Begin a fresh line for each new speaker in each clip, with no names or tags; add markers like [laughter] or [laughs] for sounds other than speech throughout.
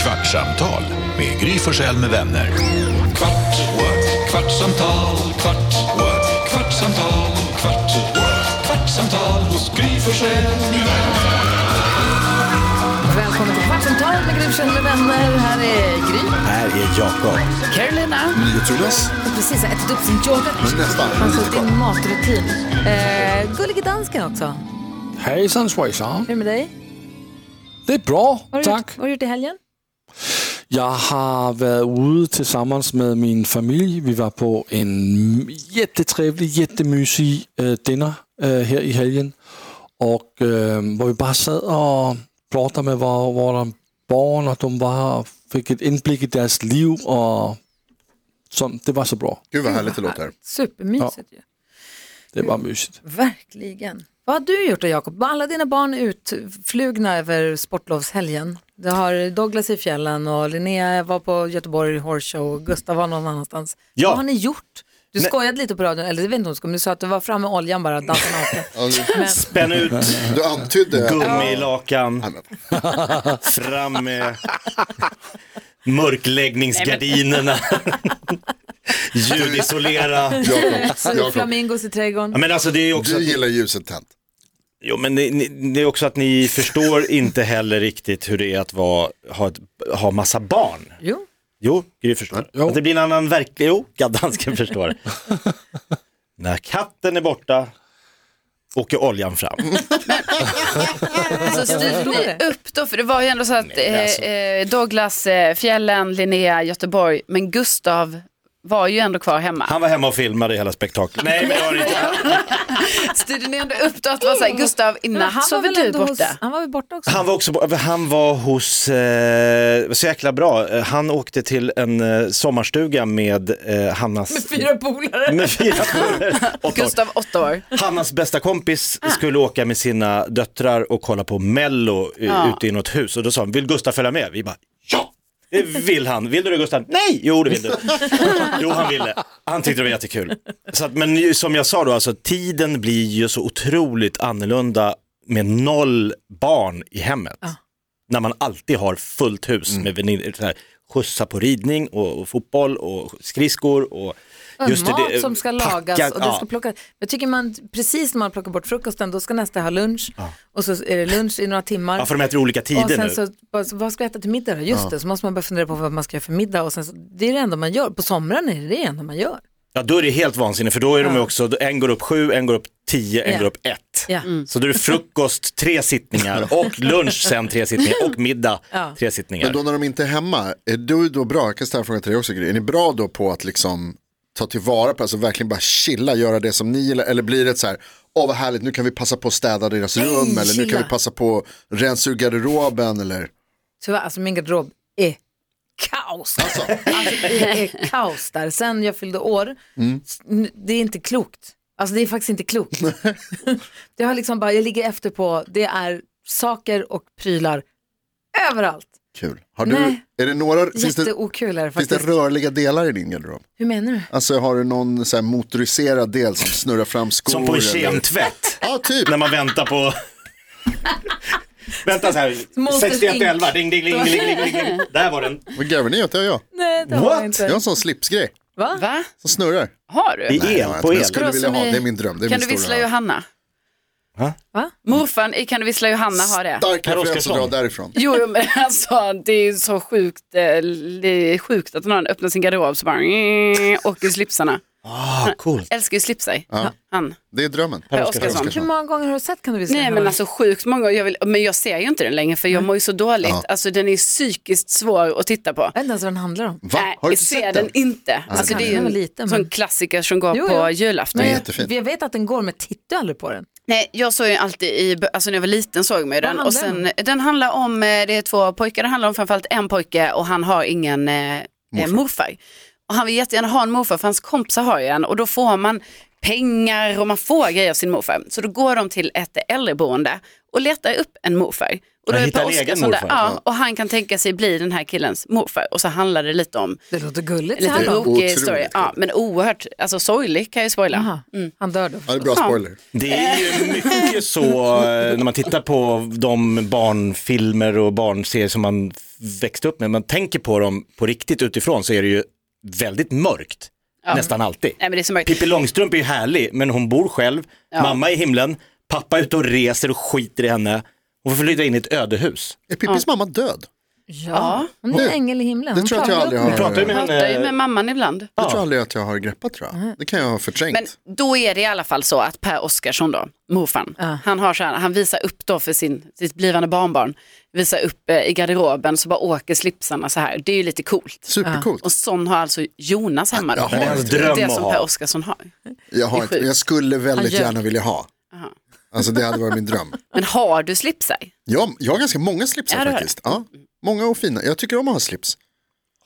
Kvartsamtal med Gry Forssell med vänner. Kvart, what? kvartsamtal, kvart, what? kvartsamtal, kvart, what? kvartsamtal hos Gry Forssell med vänner.
Välkommen till Kvartsamtal med Gry Forssell med vänner. Här är Gry.
Här är Jakob.
Carolina.
Nyhetsjonas.
Precis, jag har ätit upp sin yoghurt.
Nästan.
Han har suttit i en matrutin. Eh, Gullige dansken också. Hur
Hejsan svejsan.
är det med dig?
Det är bra,
Vad har du
tack.
Gjort, vad har du gjort i helgen?
Jag har varit ute tillsammans med min familj. Vi var på en jättetrevlig, jättemysig äh, dinner äh, här i helgen. Och äh, var vi bara satt och pratade med våra, våra barn och de var och fick ett inblick i deras liv. Och sånt. Det var så bra.
Gud vad härligt det låter.
Supermysigt ju.
Det var mysigt.
Verkligen. Vad har du gjort då Jakob? Var alla dina barn utflugna över sportlovshelgen? Du har Douglas i fjällen och Linnea var på Göteborg Horse Show och Gustav var någon annanstans.
Ja.
Vad har ni gjort? Du skojade lite på radion, eller det vet inte om du skojade, men du sa att du var framme med oljan bara, dansa naken. Men
Spänn ut
[laughs] Du antydde...
gummilakan,
Nej, men,
fram med mörkläggningsgardinerna, [laughs] ljudisolera.
[laughs]
Jakob,
så
Jakob,
flamingos i
Ja,
trädgården.
men alltså det är också,
du gillar ljuset tänt.
jo, men ni, ni, det är också att ni förstår inte heller riktigt hur det är att vara, ha, ett, ha massa barn.
Jo,
Jo, Gry förstår.
Jo.
Att det blir en annan verklighet. Jo, gaddansken förstår. När katten är borta åker oljan fram.
Så styrde
Alltså, förstår det.
ni Alltså, upp då? För det var ju ändå så att
men alltså.
eh, eh, Douglas, eh, fjällen, Linnea, Göteborg, men Gustav var ju ändå kvar hemma.
Han var hemma och filmade hela spektaklet. Nej, men jag har inte.
Styrde ni ändå upp då att det var så här, Gustav, i
Men
natt
han var
sover
väl
du
ändå
borta?
Hos, han var väl borta också?
Han var också bo- han var hos, eh, så jäkla bra, Eh, han åkte till en eh, sommarstuga med eh, Hannas, med
Fyra polare.
med fyra polare. Åtta år.
Gustav, åtta år.
Hannas bästa kompis
Ah.
skulle åka med sina döttrar och kolla på mello i-
Ja.
ute i något hus och då sa han, vill Gustav följa med? Vi bara, ja! Det vill han. Vill du det Gustav? Nej! Jo det vill du. Jo han ville. Han tyckte det var jättekul. Så att, men ju- som jag sa då, alltså, tiden blir ju så otroligt annorlunda med noll barn i hemmet. När man alltid har fullt hus med väninnor, så här, skjutsa på ridning och, och fotboll och skridskor och just det,
mat
det-
som ska lagas
packa-
och det
ja.
ska plocka. Jag tycker man, precis när man plockar bort frukosten, då ska nästa ha lunch och så är det lunch i några timmar.
Ja, för de äter olika
och
tider
sen
nu.
så, vad- vad ska jag äta till middag då? Just det, så måste man börja fundera på vad man ska göra för middag och sen så, det är det enda man gör. På somrarna är det det enda man gör.
Ja, då är det helt vansinnigt för då är de ju också, en går upp sju, en går upp tio, en
Ja.
går upp ett.
Ja.
Så då är det frukost,
[laughs]
tre sittningar och lunch sen tre sittningar och middag,
Ja.
tre sittningar.
Men då när de inte är hemma, är du då bra, jag kan ställa en fråga till dig också, Gry. är ni bra då på att liksom ta tillvara på, alltså verkligen bara chilla, göra det som ni gillar, eller blir det så här, åh vad härligt, nu kan vi passa på att städa deras rum, eller nu
chilla.
kan vi passa på att rensa ur garderoben, eller?
Tyvärr, alltså min garderob är kaos. Alltså. det är kaos där. Sen jag fyllde år,
Mm.
s- n- det är inte klokt. Alltså det är faktiskt inte klokt. [laughs] det har liksom bara, jag ligger efter på, det är saker och prylar överallt.
Kul. Har du,
Nej.
är det några, finns det,
Jätteokul är det
finns det
faktiskt.
rörliga delar i din garderob?
Hur menar du?
Alltså har du någon så här motoriserad del som snurrar fram skor?
Som på en
eller-
kemtvätt,
Ja, typ.
när man väntar på... Vänta så här,
Monsters
6111, ding, ding, ding, ding, ding,
[laughs]
ding, ding. Där var den.
Vad garvar ni åt? Det har jag.
Nej, det har
What?
jag
Jag har
inte.
en sån slipsgrej
Va?
Va?
som snurrar.
Har du?
I el,
Ja,
på
men
el.
Jag skulle
Bra,
vilja
som
ha,
i-
det är min dröm. Det är
Kan du
min
vissla
stora.
Johanna?
Va?
Morfan i Kan du vissla Johanna har det.
Stark
Per
referens att
Oscarsson.
dra därifrån.
Jo, jo, men alltså det är ju så sjukt, eh, li- sjukt att någon öppnar sin garderob så bara åker slipsarna.
Ah, coolt.
Älskar ju slipsar.
Ja.
Han,
Det är drömmen.
Per
Oscarsson.
Oscarsson.
Hur många gånger har du sett kan du visa
Nej men alltså sjukt många, jag vill, men jag ser ju inte den längre för jag mår ju så dåligt.
Ja.
Alltså den är psykiskt svår att titta på.
Jag vet inte ens vad den handlar om.
Va?
Nej,
Har du
jag
inte
ser
sett
den
den?
inte. Alltså det är
Den
ju
var
en
liten, men-
sån klassiker som går
Jo,
på
jo.
julafton.
är
Nej,
jättefin.
jag vet att den går men tittar aldrig på den.
Nej, jag såg ju alltid i, alltså när jag var liten såg man ju den.
handlar
Och
den
sen, den handlar om, eh, det är två pojkar, det handlar om framförallt en pojke och han har ingen eh, morfar. morfar. Och han vill jättegärna ha en morfar för hans kompisar har ju en och då får man pengar och man får grejer av sin morfar. Så då går de till ett äldreboende och letar upp en morfar. Och
Ja,
är det
hitta
Per
en egen
Oscarsson där.
morfar.
Ja, och han kan tänka sig bli den här killens morfar. Och så handlar det lite om
Det låter gulligt. så
lite
här långt.
brokig
otroligt
historia. Ja, men oerhört alltså, sorglig kan jag ju spoila.
Jaha, Han dör då.
Ja, det är bra spoiler.
Det är ju mycket så eh, när man tittar på de barnfilmer och barnserier som man växte upp med. Man tänker på dem på riktigt utifrån så är det ju väldigt mörkt. Nästan alltid.
Nej, men det är så mörkt.
Pippi Långstrump är ju härlig men hon bor själv. Mamma är i himlen. Pappa är ute och reser och skiter i henne. Hon får flytta in i ett ödehus.
Är Pippis mamma död?
Ja. Hon är en ängel i himlen.
Det
Hon
tror jag att jag
pratar
aldrig
åt
har.
Vi pratar ju med
Han pratar ju med
henne.
mamman ibland.
Det tror jag aldrig att jag har greppat tror jag. Det kan jag ha förträngt.
Mm. Men då är det i alla fall så att Per Oscarsson då, morfan, han, har så här, han visar upp då för sin, sitt blivande barnbarn, visar upp eh, i garderoben så bara åker slipsarna så här. Det är ju lite coolt.
Supercoolt.
Och sån har alltså Jonas hemma då.
Jaha. Det är
hans dröm
det
att
som
ha.
Per Oscarsson har.
Jag, har
Det är
inte,
sjukt.
jag skulle väldigt
Han ljög.
gärna vilja ha. Alltså det hade varit min dröm.
Men har du slipsar?
Jag, jag har ganska många
Ja,
slipsar
du har
faktiskt. Ja, många och fina. Jag tycker om att ha slips.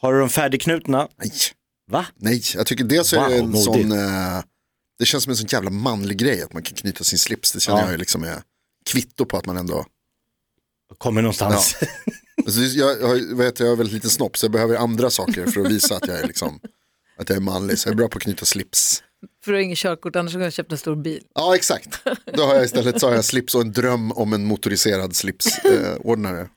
Har du de färdigknutna?
Nej,
Va?
nej. jag tycker dels är det
Wow,
en
modigt.
sån, eh, det känns som en sån jävla manlig grej att man kan knyta sin slips. Det känner
Ja.
jag ju liksom är kvitto på att man ändå,
Kommer någonstans.
alltså, jag, jag, vet, jag har väldigt liten snopp så jag behöver andra saker för att visa att jag är liksom, [laughs] att jag är manlig. Så jag är bra på att knyta slips.
För du har inget körkort, annars hade jag köpt en stor bil.
Ja, exakt. Då har jag istället så har jag slips och en dröm om en motoriserad slipsordnare. Eh, ordnare.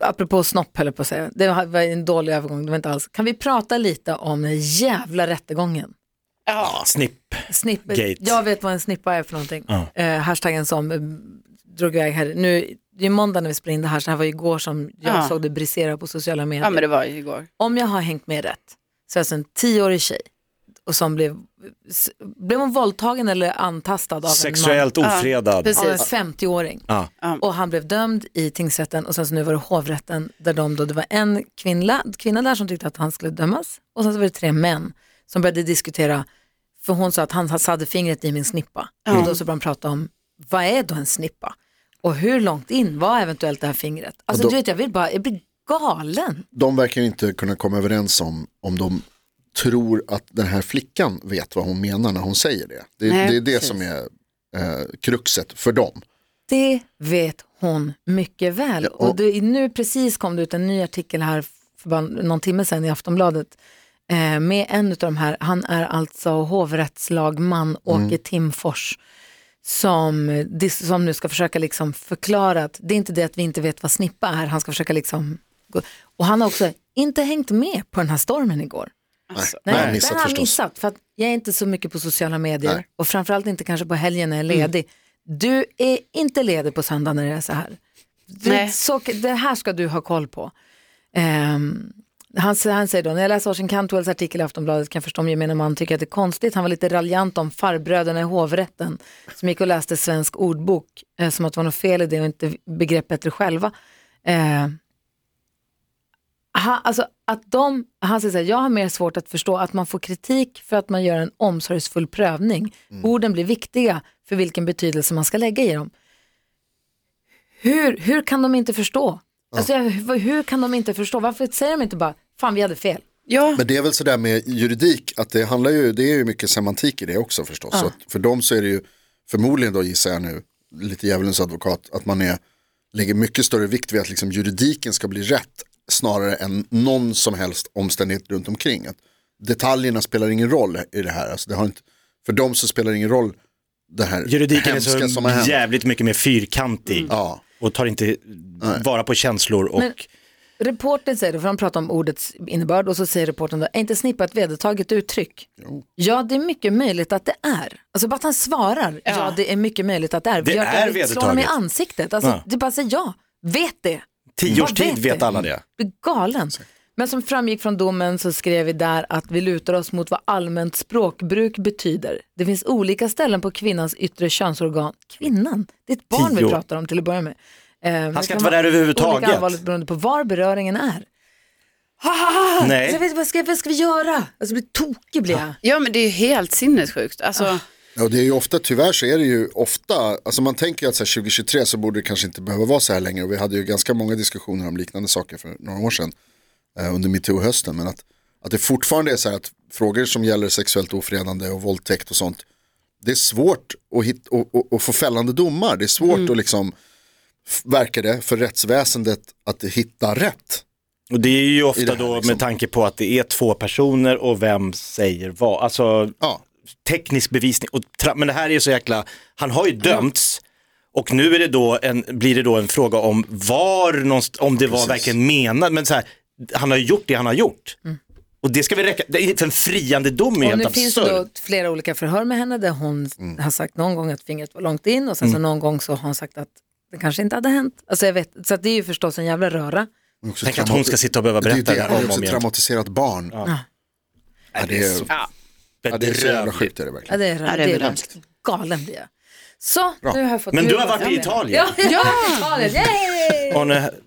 Apropå snopp höll jag på att säga. Det var en dålig övergång, det var inte alls. Kan vi prata lite om den jävla rättegången?
Ja.
Snipp.
Snipp,
Gate.
Jag vet vad en snippa är för någonting.
Ja.
Eh, hashtaggen som eh, drog iväg här. Nu, det är måndag när vi spelar in det här, så det här var igår som jag
Ja.
såg det brisera på sociala medier.
ja, men det var ju igår.
Om jag har hängt med rätt, så är alltså en tioårig tjej och som blev, s- blev hon våldtagen eller antastad av en man?
Sexuellt ofredad.
precis.
Av en 50-åring.
Ja.
Och han blev dömd i tingsrätten och sen så nu var det hovrätten där de då, det var en kvinna, kvinna där som tyckte att han skulle dömas och sen så var det tre män som började diskutera, för hon sa att han hade fingret i min snippa. Och då så började de prata om, vad är då en snippa? Och hur långt in var eventuellt det här fingret? Alltså
Och då-
du vet, jag vill bara, jag blir galen.
De verkar inte kunna komma överens om om de tror att den här flickan vet vad hon menar när hon säger det. Det,
Nej,
det är det
precis.
som är eh, kruxet för dem.
Det vet hon mycket väl.
Ja,
och
och-
det, nu precis kom det ut en ny artikel här för bara någon timme sedan i Aftonbladet eh, med en av de här. Han är alltså hovrättslagman Åke Timfors som, dis- som nu ska försöka liksom förklara att det är inte det att vi inte vet vad snippa är. Han ska försöka liksom... Gå. Och han har också inte hängt med på den här stormen igår.
Alltså.
Nej,
Nej,
den
missat
har jag
förstås.
missat. För att jag är inte så mycket på sociala medier
Nej. Mm.
och framförallt inte kanske på helgen när jag är ledig. Du är inte ledig på söndag när det är så här. Du,
Nej.
så, det här ska du ha koll på. Ehm, han, sä- han säger då, när jag läser Washington Cantwells artikel i Aftonbladet kan jag förstå om gemene man tycker att det är konstigt. Han var lite raljant om farbröderna i hovrätten som gick och läste svensk ordbok eh, som att det var något fel i det och inte begrepp bättre själva. Eh, han, alltså, att de, han säger så här, jag har mer svårt att förstå att man får kritik för att man gör en omsorgsfull prövning. Orden blir viktiga för vilken betydelse man ska lägga i dem. Hur, hur kan de inte förstå? Alltså, jag- hur, hur kan de inte förstå? Varför säger de inte bara, fan vi hade fel?
Ja,
Men det är väl sådär med juridik, att det handlar ju, det är ju mycket semantik i det också förstås. Så att för dem så är det ju, förmodligen då gissar jag nu, lite djävulens advokat, att man är, lägger mycket större vikt vid att liksom juridiken ska bli rätt snarare än någon som helst omständighet runt omkring. Att detaljerna spelar ingen roll i det här, alltså det har inte, för dem så spelar det ingen roll det här
Juridiken är
hemska
så
som har hänt. Mm.
jävligt mycket mer fyrkantig.
Ja.
och tar inte vara på känslor och
Men- Reporten säger då, för han pratar om ordets innebörd och så säger reporten då, är inte snippa ett vedertaget uttryck? Ja, det är mycket möjligt att det är. Alltså bara att han svarar, ja, det är mycket möjligt att det är.
Det
jag
är
slår honom i
vedertaget.
ansiktet. Alltså,
Ja.
Det är bara säger ja, vet det.
tio års
Vad
tid vet
du?
alla det.
Blir galen. Men som framgick från domen så skrev vi där att vi lutar oss mot vad allmänt språkbruk betyder. Det finns olika ställen på kvinnans yttre könsorgan. Kvinnan, det är ett barn
Tio
vi
år.
pratar om till att börja med. Eh, men
ska
kan
inte vara där överhuvudtaget.
Olika allvarligt beroende på var beröringen är. Ah, Så jag
Nej,
vet, vad, ska, vad ska vi göra? Alltså, jag blir tokig blir jag.
ja men det är ju helt sinnessjukt. Alltså,
Ja, och det är ju ofta, tyvärr så är det ju ofta, alltså man tänker ju att så här 2023 så borde det kanske inte behöva vara så här längre och vi hade ju ganska många diskussioner om liknande saker för några år sedan eh, under metoo-hösten men att, att det fortfarande är så här att frågor som gäller sexuellt ofredande och våldtäkt och sånt det är svårt att, hit, och, och, och få fällande domar. Det är svårt
Mm.
att liksom, f- verkar det, för rättsväsendet att hitta rätt.
Och det är ju
I det
ofta
här,
då
liksom.
med tanke på att det är två personer och vem säger vad. Alltså
Ja,
teknisk bevisning, och tra- men det här är ju så jäkla, han har ju dömts och nu är det då en, blir det då en fråga om var, någonst- om det var
Precis.
verkligen menat, men så här, han har ju gjort det han har gjort. Och det ska vi räcka, det är för en friande dom är
Mm. Och
helt Mm.
det finns ju då
absurd.
flera olika förhör med henne där hon har sagt någon gång att fingret var långt in och sen
Mm.
så någon gång så har hon sagt att det kanske inte hade hänt. Alltså jag vet, så att det är ju förstås en jävla röra.
men också
Tänk att
traumati-
hon ska sitta och behöva
Det är ju
berätta det,
det,
här
hon är
om och
också
om
ett
igen.
traumatiserat barn. Ja. det, är,
Ja.
ja, det är så jävla
Bedrövligt.
sjukt är det
Ja,
verkligen.
det är,
Ja,
röra,
det
det
är
är
bedrövligt.
galen blir jag. Så, nu har jag fått
Men
nu
du har
har jag
varit i
med mig.
Italien.
Ja, jag har varit i Italien. Yay!
Och nu-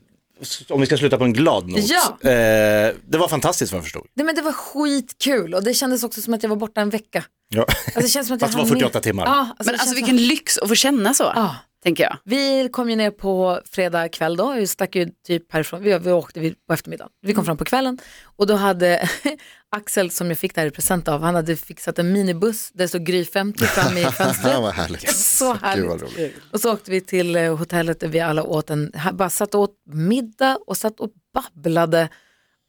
Om vi ska sluta på en glad not.
Ja.
Eh, det var fantastiskt vad jag förstod.
Nej, men det var skitkul och det kändes också som att jag var borta en vecka. Alltså, det känns som att jag
Fast det var
hann med-
48 timmar.
Ja, alltså,
Men
det
alltså
känns
vilken lyx att få känna så,
som- Ja.
tänker jag.
Vi kom ju ner på fredag kväll då, vi stack ju typ härifrån, vi, vi åkte vid- på eftermiddagen, vi kom fram på kvällen och då hade [laughs] Axel som jag fick det här i present av, han hade fixat en minibuss där det stod Gry 50 fram
[laughs]
i
Ja,
fönstret.
vad [laughs] härligt.
Så
Gud vad
härligt.
roligt.
Och så åkte vi till eh, hotellet där vi alla åt en, ha- bara satt och åt middag och satt och babblade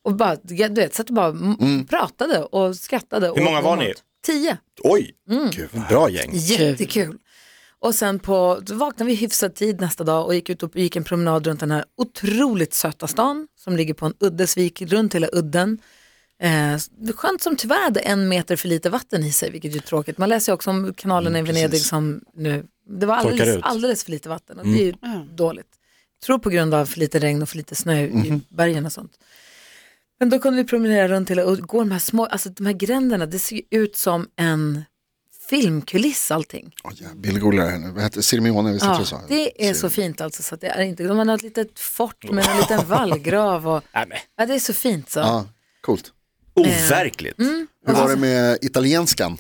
och bara, du vet, satt och bara m-
Mm.
pratade och skrattade. och
Hur många
åt
var ni?
mat. Tio.
Oj,
Mm.
Gud, vad bra gäng.
Jättekul. Och sen på, då vaknade vi hyfsad tid nästa dag och gick ut och gick en promenad runt den här otroligt söta stan som ligger på en udde, så vi gick runt hela udden. Eh, skönt som tyvärr hade en meter för lite vatten i sig, vilket ju är tråkigt. Man läser ju också om kanalen i Venedig som nu, det var
Torkar
alldeles,
ut.
alldeles för lite vatten och det är ju dåligt. Jag tror på grund av för lite regn och för lite snö i bergen och sånt. Men då kunde vi promenera runt hela och gå de här små, alltså de här gränderna, det ser ju ut som en filmkuliss allting.
Oh, ja, Bill googlar här nu. Vad heter det? Sirmione, visst heter det så?
det är så fint alltså så att det är inte, de har ett litet fort med en liten vallgrav och,
Nej, Äh, men.
ja det är så fint så.
Ja, coolt.
Overkligt.
Eh, mm.
Hur var det med italienskan?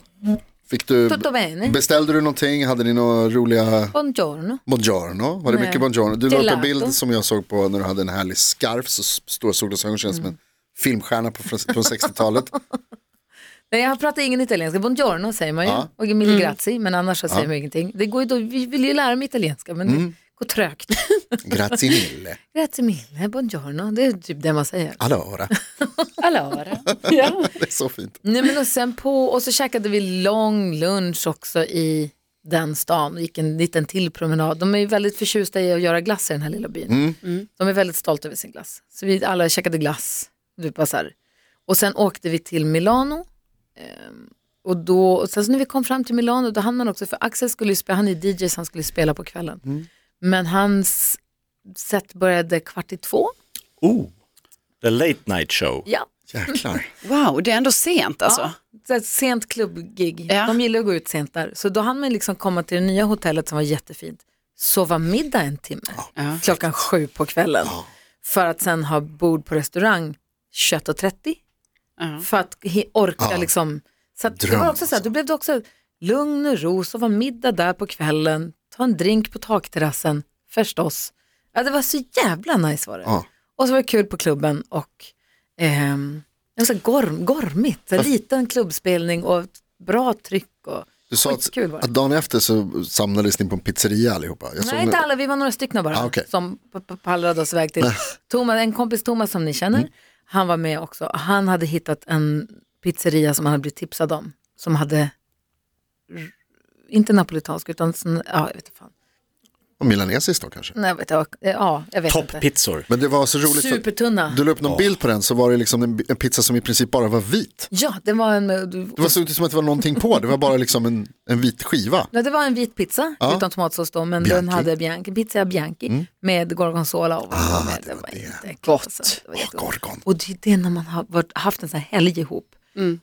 Fick du,
Tutto bene.
beställde du någonting? Hade ni några roliga
Buongiorno.
Buongiorno, var det
Nej.
mycket buongiorno? Du la upp en
Gelato.
bild som jag såg på när du hade en härlig skarf, så s- stora solglasögon känns som en filmstjärna på, från
[laughs]
från 60-talet.
Nej jag pratar ingen italienska, buongiorno säger man ju
Ja.
och mille grazie men annars så säger man ingenting. Det går ju då, vi vill ju lära mig italienska men det går trögt.
Grazie mille,
grazie mille, buongiorno, det är typ det man säger.
allora.
Allora. [laughs]
Det är så fint.
Nej, men och, sen på, och så käkade vi lång lunch också i den stan och gick en liten till promenad. De är ju väldigt förtjusta i att göra glass i den här lilla byn. De är väldigt stolta över sin glass. Så vi alla käkade glass. Du bara så här. Och sen åkte vi till Milano. Ehm, och, då, och sen så när vi kom fram till Milano då hann man också, för Axel skulle ju spela, han är DJ så han skulle spela på kvällen. Men hans set började kvart i två.
Oh. The late night show.
Ja.
Jäklar.
Wow, det är ändå sent alltså.
Ja, så här sent klubbgig.
Ja.
De gillar att gå ut sent där. Så då hann man liksom komma till det nya hotellet som var jättefint. Sova middag en timme
Ja.
klockan sju på kvällen. För att sen ha bord på restaurang 21.30.
Ja.
För att he- orka liksom. Så att det
Dröm,
var också så här,
alltså.
då blev det också lugn och ro, sova middag där på kvällen, ta en drink på takterrassen, förstås. Ja, det var så jävla nice var det.
Ja.
Och så var det kul på klubben och ehm, det var så här gorm, gormigt, så här liten klubbspelning och ett bra tryck. Och,
Du sa att,
Skitkul var det.
att dagen efter så samlades ni på en pizzeria allihopa. Jag
Nej,
nu-
inte alla, vi var några stycken bara
Ah, okej. Ah.
som p- p- pallrade oss iväg till Thomas, en kompis Thomas som ni känner,
Mm.
han var med också. Han hade hittat en pizzeria som han hade blivit tipsad om, som hade, r- inte napolitansk utan, sån- ja jag vet inte fan.
Och milanesiskt då kanske.
Nej, jag vet, inte, ja, jag vet inte.
Topppizzor.
Men det var så roligt. för att
Supertunna.
Du la upp någon bild på den så var det liksom en, en pizza som i princip bara var vit.
Ja, det var en, du-
Det var så ut som att det var någonting på, det var bara liksom en, en vit skiva.
Ja, det var en vit pizza utan tomatsås då, men den
Bianchi.
hade Bianchi, pizza Bianchi med gorgonzola och ah, med. Det var inte gott. Alltså. Det var jättegott.
Gorgon.
och det är det när man har varit, haft en sån här helg ihop,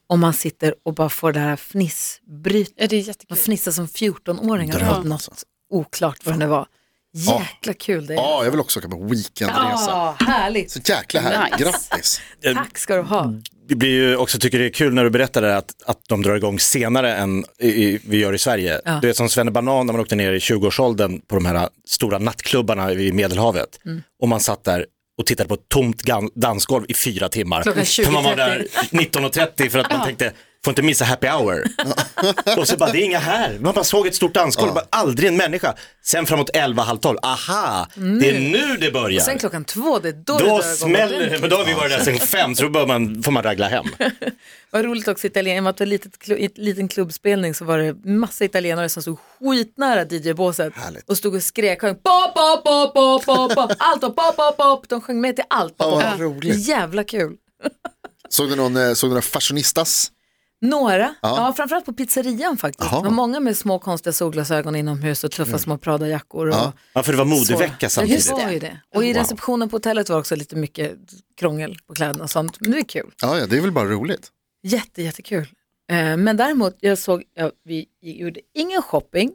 och man sitter och bara får det här fnissbryt.
Ja, det är
Man
jättekul.
fnissar som 14-åringar åt något oklart vad det var. Jäkla kul det är.
Ja, jag vill också åka på weekendresa.
Ah, härligt.
Så jäkla härligt,
Nice.
grattis.
Tack ska du ha.
Det blir ju också, tycker det är kul när du berättar det här att, att de drar igång senare än i, i, vi gör i Sverige. Du vet som Svenne Banan när man åkte ner i 20-årsåldern på de här stora nattklubbarna i Medelhavet.
Mm.
Och man satt där och tittade på ett tomt gan- dansgolv i fyra timmar.
Klockan
För man var
20.30.
där 19.30 för att man tänkte, får inte missa
[laughs]
happy hour. och så bara, det är inga här. Man bara såg ett stort dansgolv, bara, aldrig en människa. Sen framåt 11, halv 12, aha, det är nu det börjar.
Mm. Sen klockan två, det är då, det
Då
börjar gå
smäller
ordentligt.
det, men då har vi varit där sen fem, så då bör man, får man ragla hem.
Vad roligt också, italien, i och med att det var litet, klu- i ett liten klubbspelning så var det massa italienare som stod skitnära DJ-båset
Härligt.
och stod och skrek, sjöng pop, pop, pop, pop, pop, pop, allt och pop, pop, pop, de sjöng med till allt.
Ja, vad
Ja.
roligt.
Jävla kul.
Såg du, någon, eh, såg du några fashionistas?
Några, ja. framförallt på pizzerian faktiskt.
Jaha.
Det var många med små konstiga solglasögon inomhus och tuffa små Prada-jackor. Och
Ja, för det var
så.
modevecka samtidigt.
Ja, det var ju det. Och i receptionen på hotellet var också lite mycket krångel på kläderna och sånt. Men det är kul.
Ja, ja, det är väl bara roligt.
Jätte, jättekul. Eh, Men däremot, jag såg, ja, vi gjorde ingen shopping.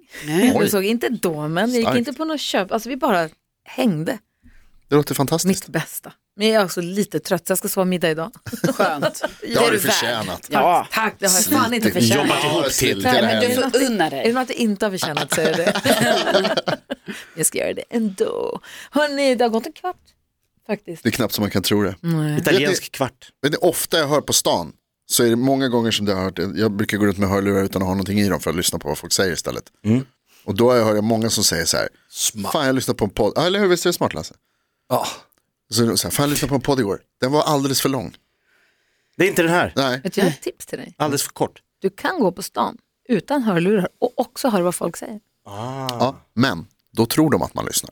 Vi såg inte Domen, vi gick
Starkt.
inte på något köp. Alltså vi bara hängde,
Det låter fantastiskt.
mitt bästa. Men jag är också lite trött, så jag ska sova middag idag.
Skönt.
Det har
är
du
värd.
förtjänat.
Ja.
Tack, det har jag fan inte
Slitit.
förtjänat.
Jobbat ihop till.
Ja, slitit
Nej, men du
hela
får unna
Är det
dig.
något jag inte har förtjänat så är det det.
[laughs]
jag ska göra det ändå. Hörni, det har gått en kvart faktiskt. Mm.
Det är knappt som man kan tro det.
Italiensk kvart.
Men det är ofta jag hör på stan så är det många gånger som jag har hört, jag brukar gå runt med hörlurar utan att ha någonting i dem för att lyssna på vad folk säger istället. Och då har jag hört många som säger så här,
Smart.
fan jag lyssnar på en podd, ja, eller hur, visst är det smart Lasse?
Ja.
Så, är det så här, fan jag lyssnade på en podd igår, den var alldeles för lång.
Det är inte den här,
Nej,
Vet du, jag har ett tips till dig.
alldeles för kort.
Du kan gå på stan utan hörlurar och också höra vad folk säger.
ja, men då tror de att man lyssnar.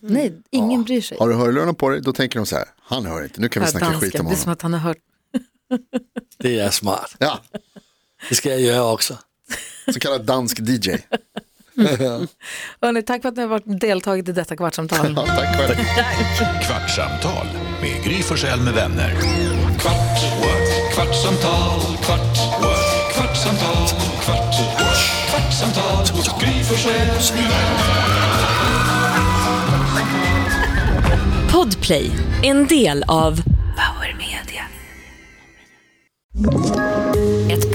Nej, ingen bryr sig.
Har du hörlurarna på dig, då tänker de så här, han hör inte, nu kan vi snacka
Dansken,
skit om
det är som
honom.
att han har hört
Det är smart.
Ja,
Det ska jag göra också.
så kallad dansk DJ.
Hörrni, tack för att ni har varit deltagit i detta kvartsamtal.
Ja, tack själv.
Kvartsamtal med Gry Forssell med vänner. Kvart, what? kvartsamtal, kvart, what? kvartsamtal, kvart, what? kvartsamtal, hos Gry Forssell med vänner.
Podplay, en del av Power Media. Ett